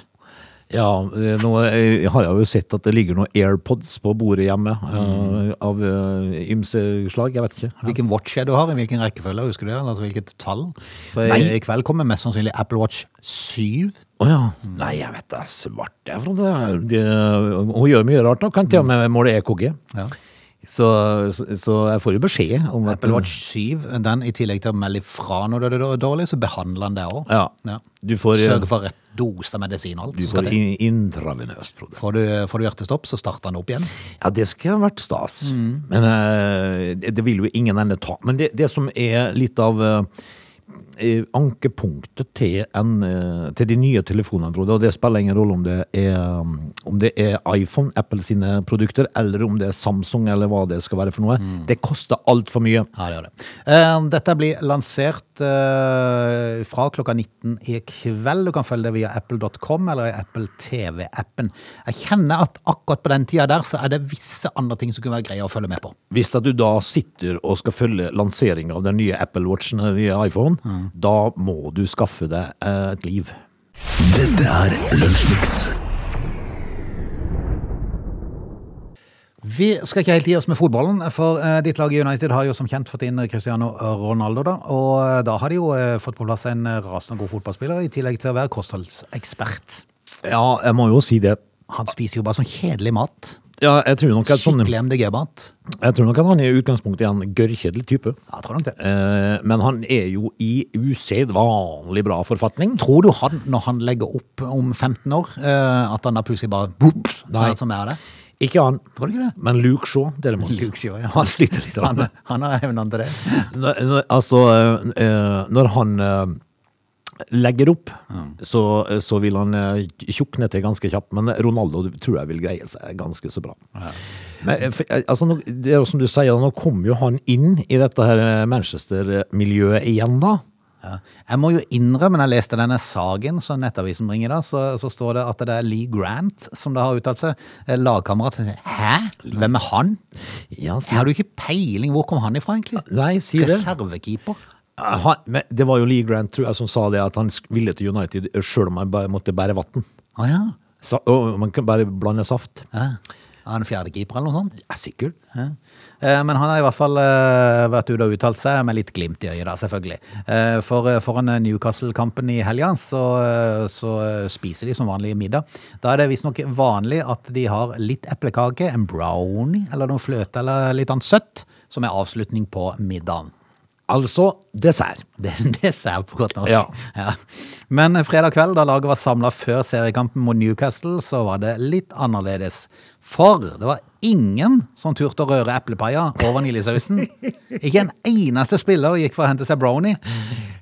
[SPEAKER 2] Ja, eh, nå eh, har jeg jo sett at det ligger noen AirPods på bordet hjemme
[SPEAKER 1] Mhm.
[SPEAKER 2] eh, av eh, ymse slag. Jeg vet ikke.
[SPEAKER 1] Hvilken watch er det du har, i hvilken rekkefølge, husker du det? Altså hvilket tall? For i,
[SPEAKER 2] Nei.
[SPEAKER 1] i kveld kommer mest sannsynlig Apple Watch 7.
[SPEAKER 2] Å ja. Nei, jeg vet det er svart det er, Frode. Det- Hun gjør mye rart nå. Kan til og med måle EKG.
[SPEAKER 1] Ja.
[SPEAKER 2] Så, så, så jeg får jo beskjed om at
[SPEAKER 1] Apple Watch 7, den i tillegg til å melde ifra når det er dårlig, så behandler den det òg.
[SPEAKER 2] Ja. Du får, eh,
[SPEAKER 1] Sørger for rett dose av medisin og alt.
[SPEAKER 2] du
[SPEAKER 1] som skal
[SPEAKER 2] får
[SPEAKER 1] til.
[SPEAKER 2] in intravenøst, Frode.
[SPEAKER 1] Får du, eh, får du hjertestopp, så starter den opp igjen.
[SPEAKER 2] Ja, det skulle ha vært stas. Men eh, det, det vil jo ingen ende ta. Men det, det som er litt av eh, ankepunktet til, en, eh, til de nye telefonene, Frode, og det spiller ingen rolle om det er, um, om det er iPhone, Apple sine produkter, eller om det er Samsung, eller hva det skal være for noe, det koster altfor mye.
[SPEAKER 1] Ja, det gjør det. Eh, Dette blir lansert eh, fra klokka 19 i kveld. Du kan følge det via apple.com eller i Apple TV-appen. Jeg kjenner at akkurat på den tida der, så er det visse andre ting som kunne være greie å følge med på.
[SPEAKER 2] Hvis at du da sitter og skal følge lanseringen av den nye Apple Watchen og den nye iPhone, da må du skaffe deg eh, et liv.
[SPEAKER 3] Dette er Lunsjmix.
[SPEAKER 1] Vi skal ikke helt gi oss med fotballen, for eh, ditt lag i United har jo som kjent fått inn Cristiano Ronaldo, da. Og eh, da har de jo eh, fått på plass en eh, rasende god fotballspiller, i tillegg til å være kostholdsekspert.
[SPEAKER 2] Ja, jeg må jo si det.
[SPEAKER 1] Han spiser jo bare sånn kjedelig mat.
[SPEAKER 2] Ja, jeg tror nok at, sånn,
[SPEAKER 1] Skikkelig MDG-mat.
[SPEAKER 2] jeg tror nok at han i utgangspunktet er en gørrkjedelig type.
[SPEAKER 1] Ja, jeg tror nok det.
[SPEAKER 2] Eh, men han er jo i usedvanlig bra forfatning.
[SPEAKER 1] Tror du han, når han legger opp om 15 år, eh, at han da plutselig bare boop,
[SPEAKER 2] Nei.
[SPEAKER 1] sånn som er det?
[SPEAKER 2] Ikke han,
[SPEAKER 1] Tror du ikke det?
[SPEAKER 2] men Luke Shaw, derimot.
[SPEAKER 1] Luke Shaw, ja.
[SPEAKER 2] [laughs] Han sliter litt.
[SPEAKER 1] Han, han har evnene til det.
[SPEAKER 2] Når, når, altså, eh, eh, når han eh, legger opp, så, så vil han eh, tjukne til ganske kjapt. Men Ronaldo tror jeg vil greie seg ganske så bra. Men, eh, for, eh, altså, nå- det er jo som du sier, nå kom jo han inn i dette her eh, Manchester-miljøet igjen, da.
[SPEAKER 1] Ja. Jeg må jo innrømme, når jeg leste denne saken som Nettavisen bringer da, så, så står det at det er Lee Grant som da har uttalt seg. eh, Lagkamerat. som sier, Hæ? Hvem er han?
[SPEAKER 2] Ja, si,
[SPEAKER 1] Har du ikke peiling? Hvor kom han ifra, egentlig?
[SPEAKER 2] nei, si det.
[SPEAKER 1] Reservekeeper?
[SPEAKER 2] Eh, Han, men det var jo Lee Grant, tror jeg, som sa det at han sk- ville til United eh, sjøl om han bare måtte bære vann.
[SPEAKER 1] Å ja.
[SPEAKER 2] Sa, og man kan bare blande saft.
[SPEAKER 1] ja. Er han fjerdekeeper eller noe sånt?
[SPEAKER 2] Ja, sikkert.
[SPEAKER 1] Ja. Eh, Men han har i hvert fall eh, vært ute og uttalt seg med litt glimt i øyet, da, selvfølgelig. Eh, For eh, foran eh, Newcastle-kampen i helga så, eh, så eh, spiser de som vanlig middag. Da er det visstnok vanlig at de har litt eplekake, en brownie eller noe fløte eller litt annet søtt, som er avslutning på middagen.
[SPEAKER 2] Altså dessert.
[SPEAKER 1] Det, det ser jeg på godt norsk.
[SPEAKER 2] Ja.
[SPEAKER 1] Ja. Men fredag kveld, da laget var samla før seriekampen mot Newcastle, så var det litt annerledes. For det var ingen som turte å røre eplepaia over vaniljesausen. Ikke en eneste spiller gikk for å hente seg brownie.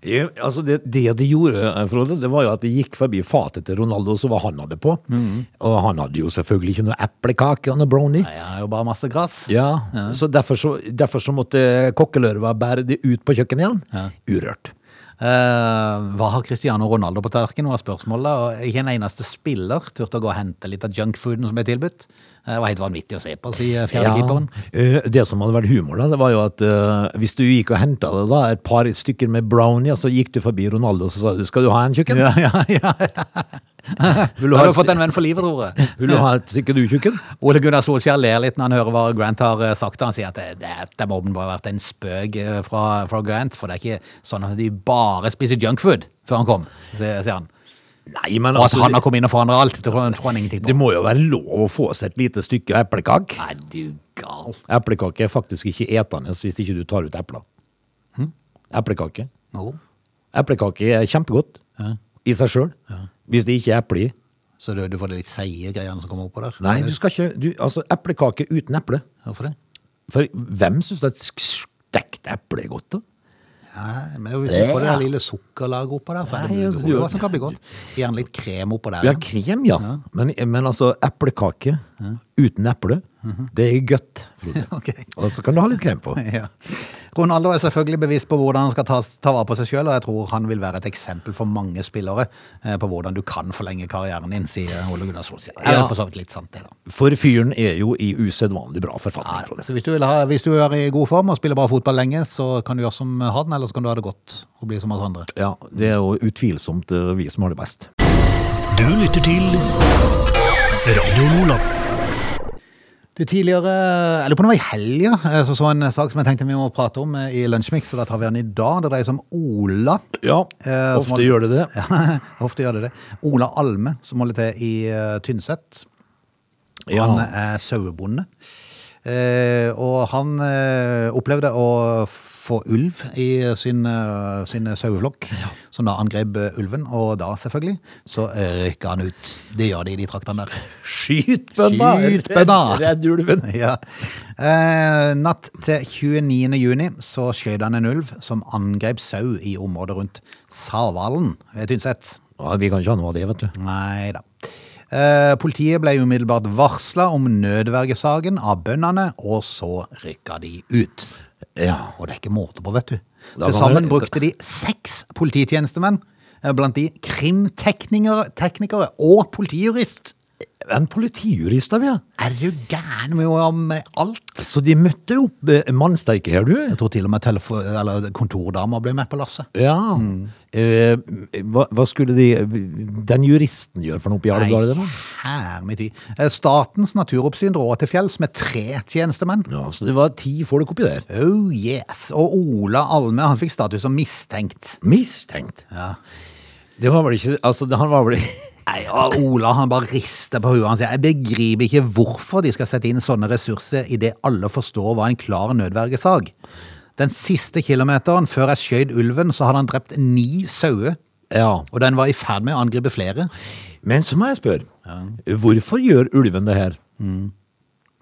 [SPEAKER 2] Ja, altså det, det de gjorde, eh, Frode, det var jo at de gikk forbi fatet til Ronaldo, så hva han hadde på. Og han hadde jo selvfølgelig ikke noe eplekake og noe brownie.
[SPEAKER 1] Nei, det er jo bare masse gress.
[SPEAKER 2] Ja, Så, derfor så derfor så måtte kokkelørva bære det ut på kjøkkenet igjen. Urørt.
[SPEAKER 1] Eh, hva har Cristiano Ronaldo på tallerkenen, var spørsmålet. Og ikke en eneste spiller turte å gå og hente litt av junkfooden som ble tilbudt. Eh, Det var helt vanvittig å se på, sier fjerdekeeperen.
[SPEAKER 2] Eh, Det som hadde vært humor, da, det var jo at eh, hvis du gikk og henta det da, et par stykker med brownie, og så gikk du forbi Ronaldo og så sa du, skal du ha en kjøkken?
[SPEAKER 1] Ja, [laughs] ja, ja.
[SPEAKER 2] Vil,
[SPEAKER 1] Du
[SPEAKER 2] du ha
[SPEAKER 1] har
[SPEAKER 2] et,
[SPEAKER 1] jo fått
[SPEAKER 2] st-
[SPEAKER 1] en venn for livet, tror jeg.
[SPEAKER 2] vil du ha et stykke du kjøkken?
[SPEAKER 1] Ole Gunnar Solskjær ler litt når han hører hva Grant har eh, sagt. Han sier at det, det, det må bare ha vært en spøk eh, fra, fra Grant, for det er ikke sånn at de bare spiser junkfood før han kom, sier sier han.
[SPEAKER 2] Nei, men
[SPEAKER 1] Og at
[SPEAKER 2] altså,
[SPEAKER 1] han har
[SPEAKER 2] det,
[SPEAKER 1] kommet inn og forandret alt, det tror han, tror han ingenting
[SPEAKER 2] det
[SPEAKER 1] på.
[SPEAKER 2] må jo være lov å få seg et lite stykke eplekake.
[SPEAKER 1] Nei, du gal.
[SPEAKER 2] Eplekake er faktisk ikke etende hvis ikke du tar ut epler. Hm? Eplekake.
[SPEAKER 1] Jo,
[SPEAKER 2] Eplekake er kjempegodt i seg sjøl. Hvis det ikke er eple i.
[SPEAKER 1] så du, du får de litt seige greiene som kommer oppå der.
[SPEAKER 2] Nei, du skal ikke du, Altså, eplekake uten eple.
[SPEAKER 1] Hvorfor det?
[SPEAKER 2] For hvem syns at sk- stekt eple er godt, da?
[SPEAKER 1] Nei, men hvis du får det der lille sukkerlaget oppå der, så er
[SPEAKER 2] Nei,
[SPEAKER 1] det
[SPEAKER 2] du-
[SPEAKER 1] mulig hva som kan bli godt. Gjerne litt krem oppå der.
[SPEAKER 2] Ja,
[SPEAKER 1] igjen.
[SPEAKER 2] krem, ja. Men, men altså, eplekake uten eple,
[SPEAKER 1] Mhm.
[SPEAKER 2] det er godt. Frode.
[SPEAKER 1] [laughs] [laughs] Ok.
[SPEAKER 2] Og så kan du ha litt krem på.
[SPEAKER 1] [laughs] Ja. Ronaldo er selvfølgelig bevisst på hvordan han skal ta, ta vare på seg sjøl, og jeg tror han vil være et eksempel for mange spillere eh, på hvordan du kan forlenge karrieren din, sier Ole Gunnar Solskjær. Det er
[SPEAKER 2] Ja.
[SPEAKER 1] for så vidt litt sant, det, da.
[SPEAKER 2] For fyren er jo i usedvanlig bra forfatning. Frode.
[SPEAKER 1] Så hvis du, vil ha, hvis du er i god form og spiller bra fotball lenge, så kan du gjøre som han, eller så kan du ha det godt og bli som oss andre.
[SPEAKER 2] Ja, det er jo utvilsomt eh, vi som har det best.
[SPEAKER 3] Du lytter til Radio Lola.
[SPEAKER 1] Du tidligere, eller på noe i helga, eh, så så jeg en sak som jeg tenkte vi må prate om eh, i Lunsjmix, og da tar vi den i dag. Det dreier seg om Ola. [laughs]
[SPEAKER 2] Ja,
[SPEAKER 1] Eh, som
[SPEAKER 2] ofte
[SPEAKER 1] alt-
[SPEAKER 2] gjør det det.
[SPEAKER 1] Ja, ofte gjør det det. Ola Alme, som holder til i eh, Tynset.
[SPEAKER 2] Ja.
[SPEAKER 1] Han er sauebonde. Eh, og han eh, opplevde å få ulv i sin, eh, sin saueflokk, som da angrep eh, ulven. Og da, selvfølgelig, så eh, rykka han ut. Det gjør de i de traktene der.
[SPEAKER 2] Skyt
[SPEAKER 1] bønna!
[SPEAKER 2] Skyt
[SPEAKER 1] Redd-
[SPEAKER 2] Redd ulven!
[SPEAKER 1] Ja. Eh, natt til 29. juni så skjøt han en ulv som angrep sau i området rundt Savalen ved Tynset.
[SPEAKER 2] Ja, vi kan ikke ha noe av det, vet du.
[SPEAKER 1] Nei da. Eh, politiet ble umiddelbart varsla om nødvergesaken av bøndene, og så rykka de ut.
[SPEAKER 2] Ja.
[SPEAKER 1] Og det er ikke måte på, vet du.
[SPEAKER 2] Da
[SPEAKER 1] Til
[SPEAKER 2] var
[SPEAKER 1] sammen
[SPEAKER 2] det-
[SPEAKER 1] brukte de seks polititjenestemenn, eh, blant de krimteknikere teknikere og politijurist.
[SPEAKER 2] En politijurist av, ja.
[SPEAKER 1] Er du gæren med å ha med alt?
[SPEAKER 2] Så de møtte opp eh, mannsterke her, du.
[SPEAKER 1] Jeg tror til og med telefo- eller kontordama ble med på lasset.
[SPEAKER 2] Ja.
[SPEAKER 1] Mm.
[SPEAKER 2] Eh, hva, hva skulle de, den juristen gjøre for noe oppi Alvdal?
[SPEAKER 1] Nei, her mitt vi. Eh, Statens naturoppsyn dro til fjells med tre tjenestemenn.
[SPEAKER 2] Ja, så det var ti folk oppi der.
[SPEAKER 1] Oh yes, og Ola Alme han fikk status som mistenkt.
[SPEAKER 2] Mistenkt. Det var vel ikke [laughs] Altså, det- han var vel
[SPEAKER 1] Nei, og Ola han bare rister på huet. Han sier jeg begriper ikke hvorfor de skal sette inn sånne ressurser idet alle forstår hva en klar nødvergesag. Den siste kilometeren før jeg skjøt ulven, så hadde han drept ni sauer.
[SPEAKER 2] Ja.
[SPEAKER 1] Og den var i ferd med å angripe flere.
[SPEAKER 2] Men så må jeg spørre. Hvorfor gjør ulven det her?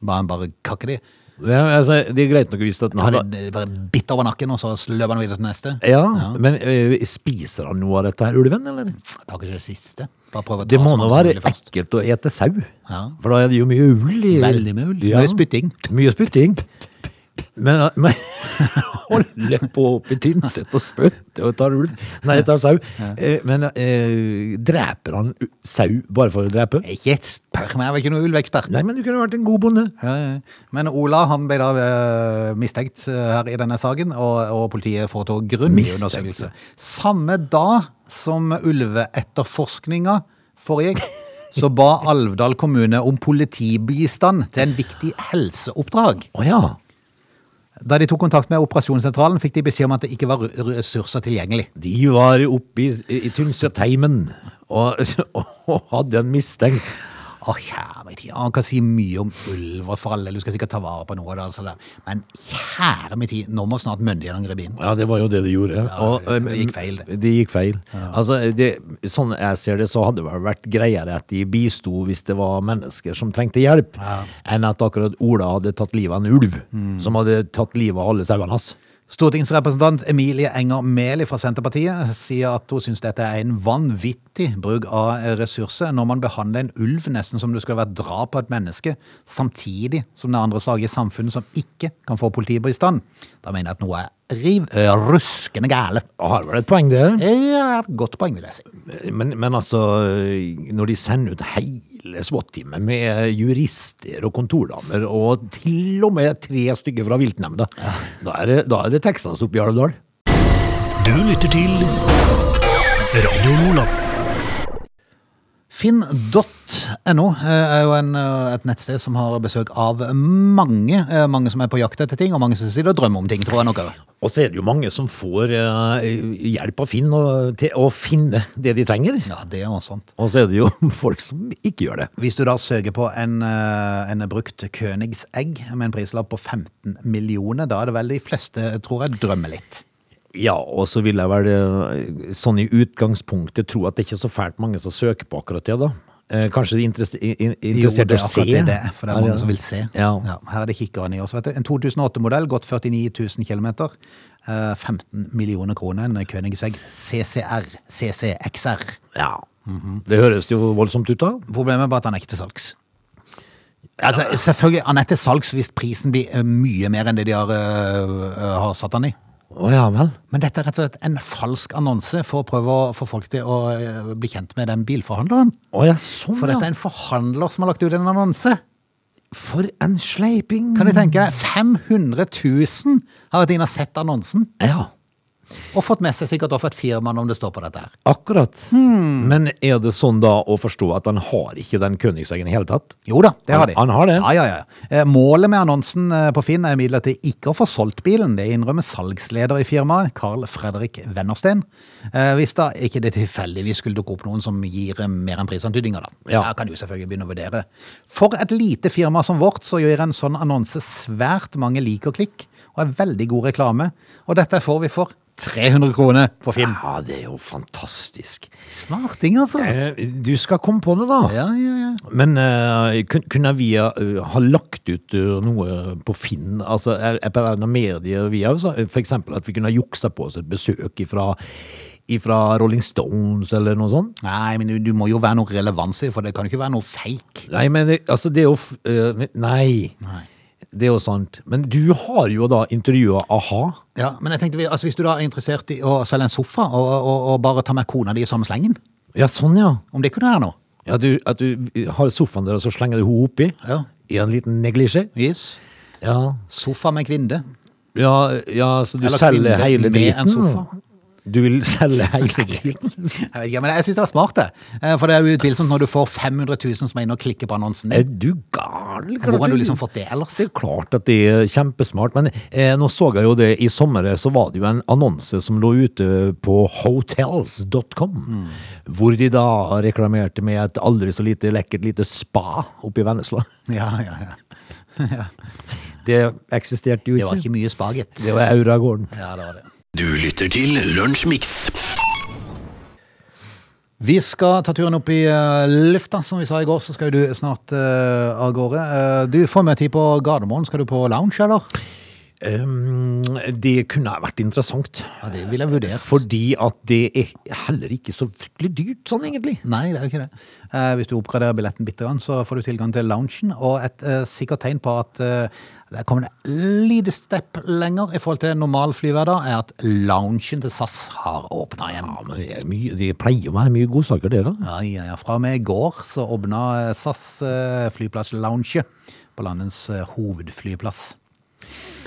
[SPEAKER 1] Bare han bare kakker de.
[SPEAKER 2] Ja, altså, det er greit nok å vise at den
[SPEAKER 1] Ta
[SPEAKER 2] har
[SPEAKER 1] det det bare bitt over nakken, og så løper han videre til neste.
[SPEAKER 2] Ja, men ø, spiser han noe av dette her, ulven, eller?
[SPEAKER 1] Tar ikke det siste. Bare prøve å ta
[SPEAKER 2] Det må
[SPEAKER 1] så
[SPEAKER 2] nå
[SPEAKER 1] mange som
[SPEAKER 2] være
[SPEAKER 1] mulig først.
[SPEAKER 2] ekkelt å ete sau.
[SPEAKER 1] Ja.
[SPEAKER 2] For da er det jo mye ull i
[SPEAKER 1] Veldig mye ull.
[SPEAKER 2] Ja.
[SPEAKER 1] Mye spytting.
[SPEAKER 2] Mye spytting. Men, eh, men [laughs] holde på oppe i Tynset og spytte og tar ull Nei, tar sau. Eh, Men eh, dreper han u- sau bare for å drepe?
[SPEAKER 1] Ikke spør meg, jeg er vel ikke noen ulveekspert.
[SPEAKER 2] Nei, men du kunne vært en god bonde.
[SPEAKER 1] Ja, ja, ja. Men Ola han ble da eh, mistenkt eh, her i denne saken, og, og politiet foretok grundig
[SPEAKER 2] Mistenkt,
[SPEAKER 1] undersøkelse. Samme dag som ulveetterforskninga foregikk, så ba Alvdal kommune om politibistand til en viktig helseoppdrag.
[SPEAKER 2] Å ja.
[SPEAKER 1] Da de tok kontakt med operasjonssentralen, fikk de beskjed om at det ikke var r- ressurser tilgjengelig.
[SPEAKER 2] De var oppe i, i Tynseteimen og, [laughs] og hadde en mistenkt.
[SPEAKER 1] Å, kjære min tid. Han kan si mye om ulv og for alle, du skal sikkert ta vare på noe av det. Altså der. Men kjære min tid, nå må snart myndighetene gripe inn.
[SPEAKER 2] Ja, det var jo det de gjorde.
[SPEAKER 1] det-
[SPEAKER 2] eh,
[SPEAKER 1] det gikk feil, det.
[SPEAKER 2] Det gikk feil. Altså, det, sånn jeg ser det, så hadde det vel vært greiere at de bisto hvis det var mennesker som trengte hjelp, enn at akkurat Ola hadde tatt livet av en ulv,
[SPEAKER 1] Mm.
[SPEAKER 2] som hadde tatt livet av alle sauene hans.
[SPEAKER 1] Stortingsrepresentant Emilie Enger Mehl fra Senterpartiet sier at hun syns dette er en vanvittig bruk av ressurser når man behandler en ulv nesten som det skulle vært drap på et menneske, samtidig som det er andre saker i samfunnet som ikke kan få politibistand. Da mener jeg at noe er riv ø, ruskende gale.
[SPEAKER 2] Har vel et poeng der?
[SPEAKER 1] Det er et godt poeng, vil jeg si.
[SPEAKER 2] Men, men altså, når de sender ut hele SWAT-teamet med jurister og kontordamer, og til og med tre stykker fra viltnemnda, da er det, da er det Texas oppe i Alvdal.
[SPEAKER 3] Du lytter til Radio Nordland.
[SPEAKER 1] Finn.no eh, er jo en, eh, et nettsted som har besøk av mange. eh, Mange som er på jakt etter ting, og mange som sitter og drømmer om ting, tror jeg nok. også.
[SPEAKER 2] Og så er det jo mange som får eh, hjelp av Finn og, til å finne det de trenger.
[SPEAKER 1] Ja, det er også sant.
[SPEAKER 2] Og så er det jo [laughs] folk som ikke gjør det.
[SPEAKER 1] Hvis du da søker på en, eh, en brukt Königsegg med en prislapp på 15 millioner, da er det vel de fleste, tror jeg, drømmer litt.
[SPEAKER 2] Ja, og så vil jeg vel eh, sånn i utgangspunktet tro at det ikke er så fælt mange som søker på akkurat det, da. Eh, Kanskje de er interesse- i- i-
[SPEAKER 1] Jo, det
[SPEAKER 2] interessert
[SPEAKER 1] er
[SPEAKER 2] i å se.
[SPEAKER 1] akkurat det det er, for det er
[SPEAKER 2] Ja,
[SPEAKER 1] mange som vil se.
[SPEAKER 2] Ja.
[SPEAKER 1] her er det kikkeren i oss, vet du. En 2008-modell, gått 49 000 kilometer, eh, 15 millioner kroner, en Königsegg CCR, CCXR.
[SPEAKER 2] Ja.
[SPEAKER 1] Mhm.
[SPEAKER 2] Det høres jo voldsomt ut, da.
[SPEAKER 1] Problemet er bare at han er ikke til salgs. Altså, selvfølgelig, han er til salgs hvis prisen blir eh, mye mer enn det de har, eh, har satt han i.
[SPEAKER 2] Å ja vel.
[SPEAKER 1] Men dette er rett og slett en falsk annonse for å prøve å få folk til å eh, bli kjent med den bilforhandleren.
[SPEAKER 2] Å ja, sånn,
[SPEAKER 1] For
[SPEAKER 2] ja.
[SPEAKER 1] dette er en forhandler som har lagt ut en annonse.
[SPEAKER 2] For en sleiping.
[SPEAKER 1] Kan du tenke deg? 500 000 har vært inne og sett annonsen,
[SPEAKER 2] Ja,
[SPEAKER 1] og fått med seg sikkert også et firmann om det står på dette her.
[SPEAKER 2] akkurat.
[SPEAKER 1] Hmm.
[SPEAKER 2] Men er det sånn da å forstå at han har ikke den Königseggen i hele tatt?
[SPEAKER 1] Jo da, det har de.
[SPEAKER 2] Han- han har det?
[SPEAKER 1] Ja, ja, ja. Eh, Målet med annonsen eh, på Finn er imidlertid ikke å få solgt bilen. Det innrømmer salgsleder i firmaet, Carl Fredrik Wennersten. Eh, Hvis da ikke det tilfeldigvis skulle dukke opp noen som gir eh, mer enn prisantydninger, da.
[SPEAKER 2] Ja.
[SPEAKER 1] Her kan du selvfølgelig begynne å vurdere. For et lite firma som vårt, så gjør en sånn annonse svært mange lik og klikk, og er veldig god reklame. Og dette får vi for 300 kroner på Finn.
[SPEAKER 2] Ja, det er jo fantastisk.
[SPEAKER 1] Smarting, altså.
[SPEAKER 2] Eh, Du skal komme på det, da.
[SPEAKER 1] Ja, ja, ja.
[SPEAKER 2] Men eh, kun- kunne vi eh, ha lagt ut eh, noe på Finn, altså er, er på noen medier vi også, for eksempel at vi kunne ha juksa på oss et besøk ifra, ifra Rolling Stones eller noe sånt?
[SPEAKER 1] Nei, men du, du må jo være noe relevans i det, for det kan jo ikke være noe fake.
[SPEAKER 2] Nei, men det, altså det er jo f- eh, men- nei. Det er jo sant. Men du har jo da intervjua a-ha.
[SPEAKER 1] Ja, men jeg tenkte, vi- altså Hvis du da er interessert i å selge en sofa, og, og, og bare ta med kona di i samme slengen,
[SPEAKER 2] Ja, sånn, ja.
[SPEAKER 1] om det kunne være noe?
[SPEAKER 2] ja du, at du eh, har sofaen der, og så slenger du henne oppi?
[SPEAKER 1] Ja.
[SPEAKER 2] I en liten neglisjé?
[SPEAKER 1] Yes.
[SPEAKER 2] Ja.
[SPEAKER 1] Sofa med kvinne.
[SPEAKER 2] ja. Ja, så du
[SPEAKER 1] Eller
[SPEAKER 2] selger
[SPEAKER 1] kvinne
[SPEAKER 2] hele
[SPEAKER 1] med en
[SPEAKER 2] driten?
[SPEAKER 1] sofa.
[SPEAKER 2] Du vil [laughs] selge hele driten?
[SPEAKER 1] [laughs] Jeg vet ikke, men jeg syns det var smart, det. Eh, For det er jo utvilsomt når du får 500 000 som er inne og klikker på annonsen
[SPEAKER 2] Er
[SPEAKER 1] din.
[SPEAKER 2] du gal?
[SPEAKER 1] Hvor har
[SPEAKER 2] Klart
[SPEAKER 1] du
[SPEAKER 2] det-
[SPEAKER 1] liksom fått det ellers?
[SPEAKER 2] Det er klart at det er kjempesmart, men eh, nå så jeg jo det i sommer, eh, så var det jo en annonse som lå ute på hotels.com,
[SPEAKER 1] Mm.
[SPEAKER 2] hvor de da reklamerte med et aldri så lite lekkert lite spa oppe i Vennesla.
[SPEAKER 1] Ja, ja, ja.
[SPEAKER 2] Det eksisterte jo
[SPEAKER 1] Det var
[SPEAKER 2] ikke.
[SPEAKER 1] ikke mye spaget.
[SPEAKER 2] Det var Auragården.
[SPEAKER 1] Ja, det var det.
[SPEAKER 3] Du lytter til Lunsjmix.
[SPEAKER 1] Vi skal ta turen opp i eh, lufta, som vi sa i går. Så skal jo du snart eh, av gårde. Eh, du får med tid på Gardermoen. Skal du på lounge, eller?
[SPEAKER 2] Um, det kunne ha vært interessant,
[SPEAKER 1] Ja, Det vil jeg vurdere.
[SPEAKER 2] fordi at det er heller ikke så fryktelig dyrt sånn egentlig.
[SPEAKER 1] Nei, det er jo ikke det. Eh, hvis du oppgraderer billetten bitte grann, så får du tilgang til loungen, og et eh, sikkert tegn på at eh, der kommer det lite stepp lenger i forhold til normal flyhverdag, er at loungen til SAS har åpna igjen.
[SPEAKER 2] Ja, men det, er mye, det pleier å være mye godsaker det da.
[SPEAKER 1] Ja, ja, ja. Fra og med i går så åpna eh, SAS eh, flyplasslounge på landets eh, hovedflyplass.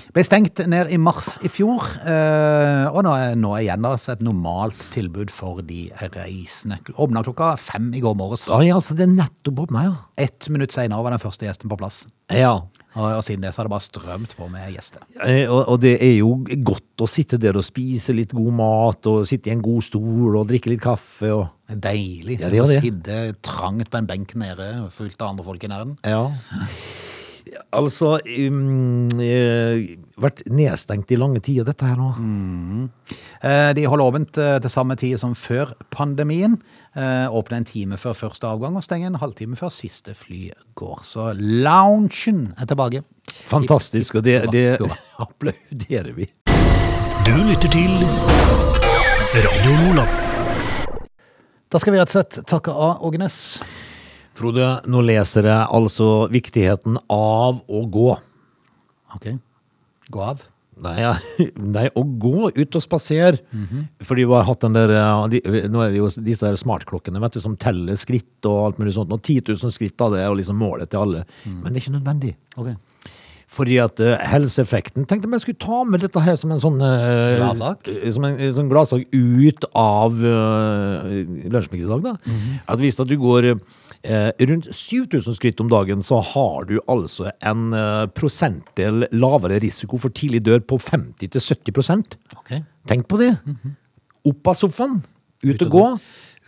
[SPEAKER 1] Ble stengt ned i mars i fjor, eh, og nå er, nå er igjen da, så et normalt tilbud for de reisende. Åpna klokka fem i går morges.
[SPEAKER 2] Oi, altså, det er nettopp opp meg, ja.
[SPEAKER 1] Ett minutt senere var den første gjesten på plass.
[SPEAKER 2] Ja.
[SPEAKER 1] Og, og siden det så har det bare strømt på med gjester.
[SPEAKER 2] Eh, Og, og det er jo godt å sitte der og spise litt god mat, og sitte i en god stol og drikke litt kaffe og
[SPEAKER 1] Deilig. å
[SPEAKER 2] Ja, det gjør det.
[SPEAKER 1] Sitte trangt på en benk nede, fullt av andre folk i nærheten.
[SPEAKER 2] Ja. Altså um, eh, Vært nedstengt i lange tider, dette her nå.
[SPEAKER 1] Eh, De holder åpent eh, til samme tid som før pandemien. Eh, Åpner en time før første avgang og stenger en halvtime før siste fly går. Så loungen er tilbake.
[SPEAKER 2] Fantastisk, og det,
[SPEAKER 1] Hurra,
[SPEAKER 2] det
[SPEAKER 1] hurra.
[SPEAKER 2] [laughs] applauderer vi.
[SPEAKER 3] Du lytter til Radio Nordland.
[SPEAKER 1] Da skal vi rett og slett takke av Ågenes.
[SPEAKER 2] Frode, nå leser jeg altså viktigheten av å gå.
[SPEAKER 1] Ok. Gå av.
[SPEAKER 2] Nei, ja. [laughs] Nei, å gå ut og spasere. Fordi vi har hatt den der ja, de, Nå er det jo disse der smartklokkene vet du, som teller skritt og alt mulig sånt. Og 10 000 skritt da, det er jo liksom målet til alle. Men det er ikke nødvendig.
[SPEAKER 1] Ok.
[SPEAKER 2] Fordi at eh, helseeffekten Tenkte jeg skulle ta med dette her som en sånn eh,
[SPEAKER 1] Gladsak?
[SPEAKER 2] eh, Som en, en sånn gladsak ut av uh, lunsjmix i dag, da.
[SPEAKER 1] Mhm.
[SPEAKER 2] At hvis at du går eh, rundt 7000 skritt om dagen, så har du altså en eh, prosentdel lavere risiko for tidlig død på 50-70
[SPEAKER 1] Ok.
[SPEAKER 2] Tenk på det! Opp av sofaen, ut,
[SPEAKER 1] Mhm. Ut
[SPEAKER 2] og
[SPEAKER 1] og
[SPEAKER 2] gå.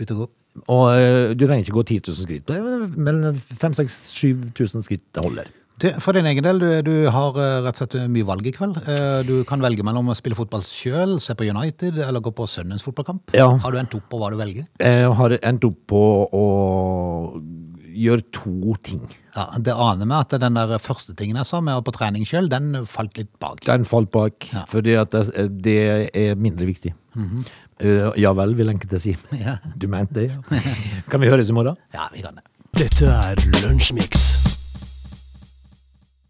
[SPEAKER 1] Ut og gå.
[SPEAKER 2] Og eh, du trenger ikke gå 10 000 skritt, men- men 5000-7000 skritt det holder.
[SPEAKER 1] Du, For din egen del, du, du har eh, rett og slett mye valg i kveld. Eh, Du kan velge mellom å spille fotball sjøl, se på United eller gå på sønnens fotballkamp.
[SPEAKER 2] Ja.
[SPEAKER 1] Har du endt opp på hva du velger?
[SPEAKER 2] Jeg Eh, har endt opp på å gjøre to ting.
[SPEAKER 1] Ja, Det aner meg at den der første tingen jeg sa med å på trening sjøl, den falt litt bak.
[SPEAKER 2] Den falt bak, fordi at det, det er mindre viktig. Eh, ja vel, vil enkelte si.
[SPEAKER 1] Ja. 啊
[SPEAKER 2] Du mente det, ja. Kan vi høres i morgen?
[SPEAKER 1] Ja, vi kan det.
[SPEAKER 3] Dette er Lunsjmix.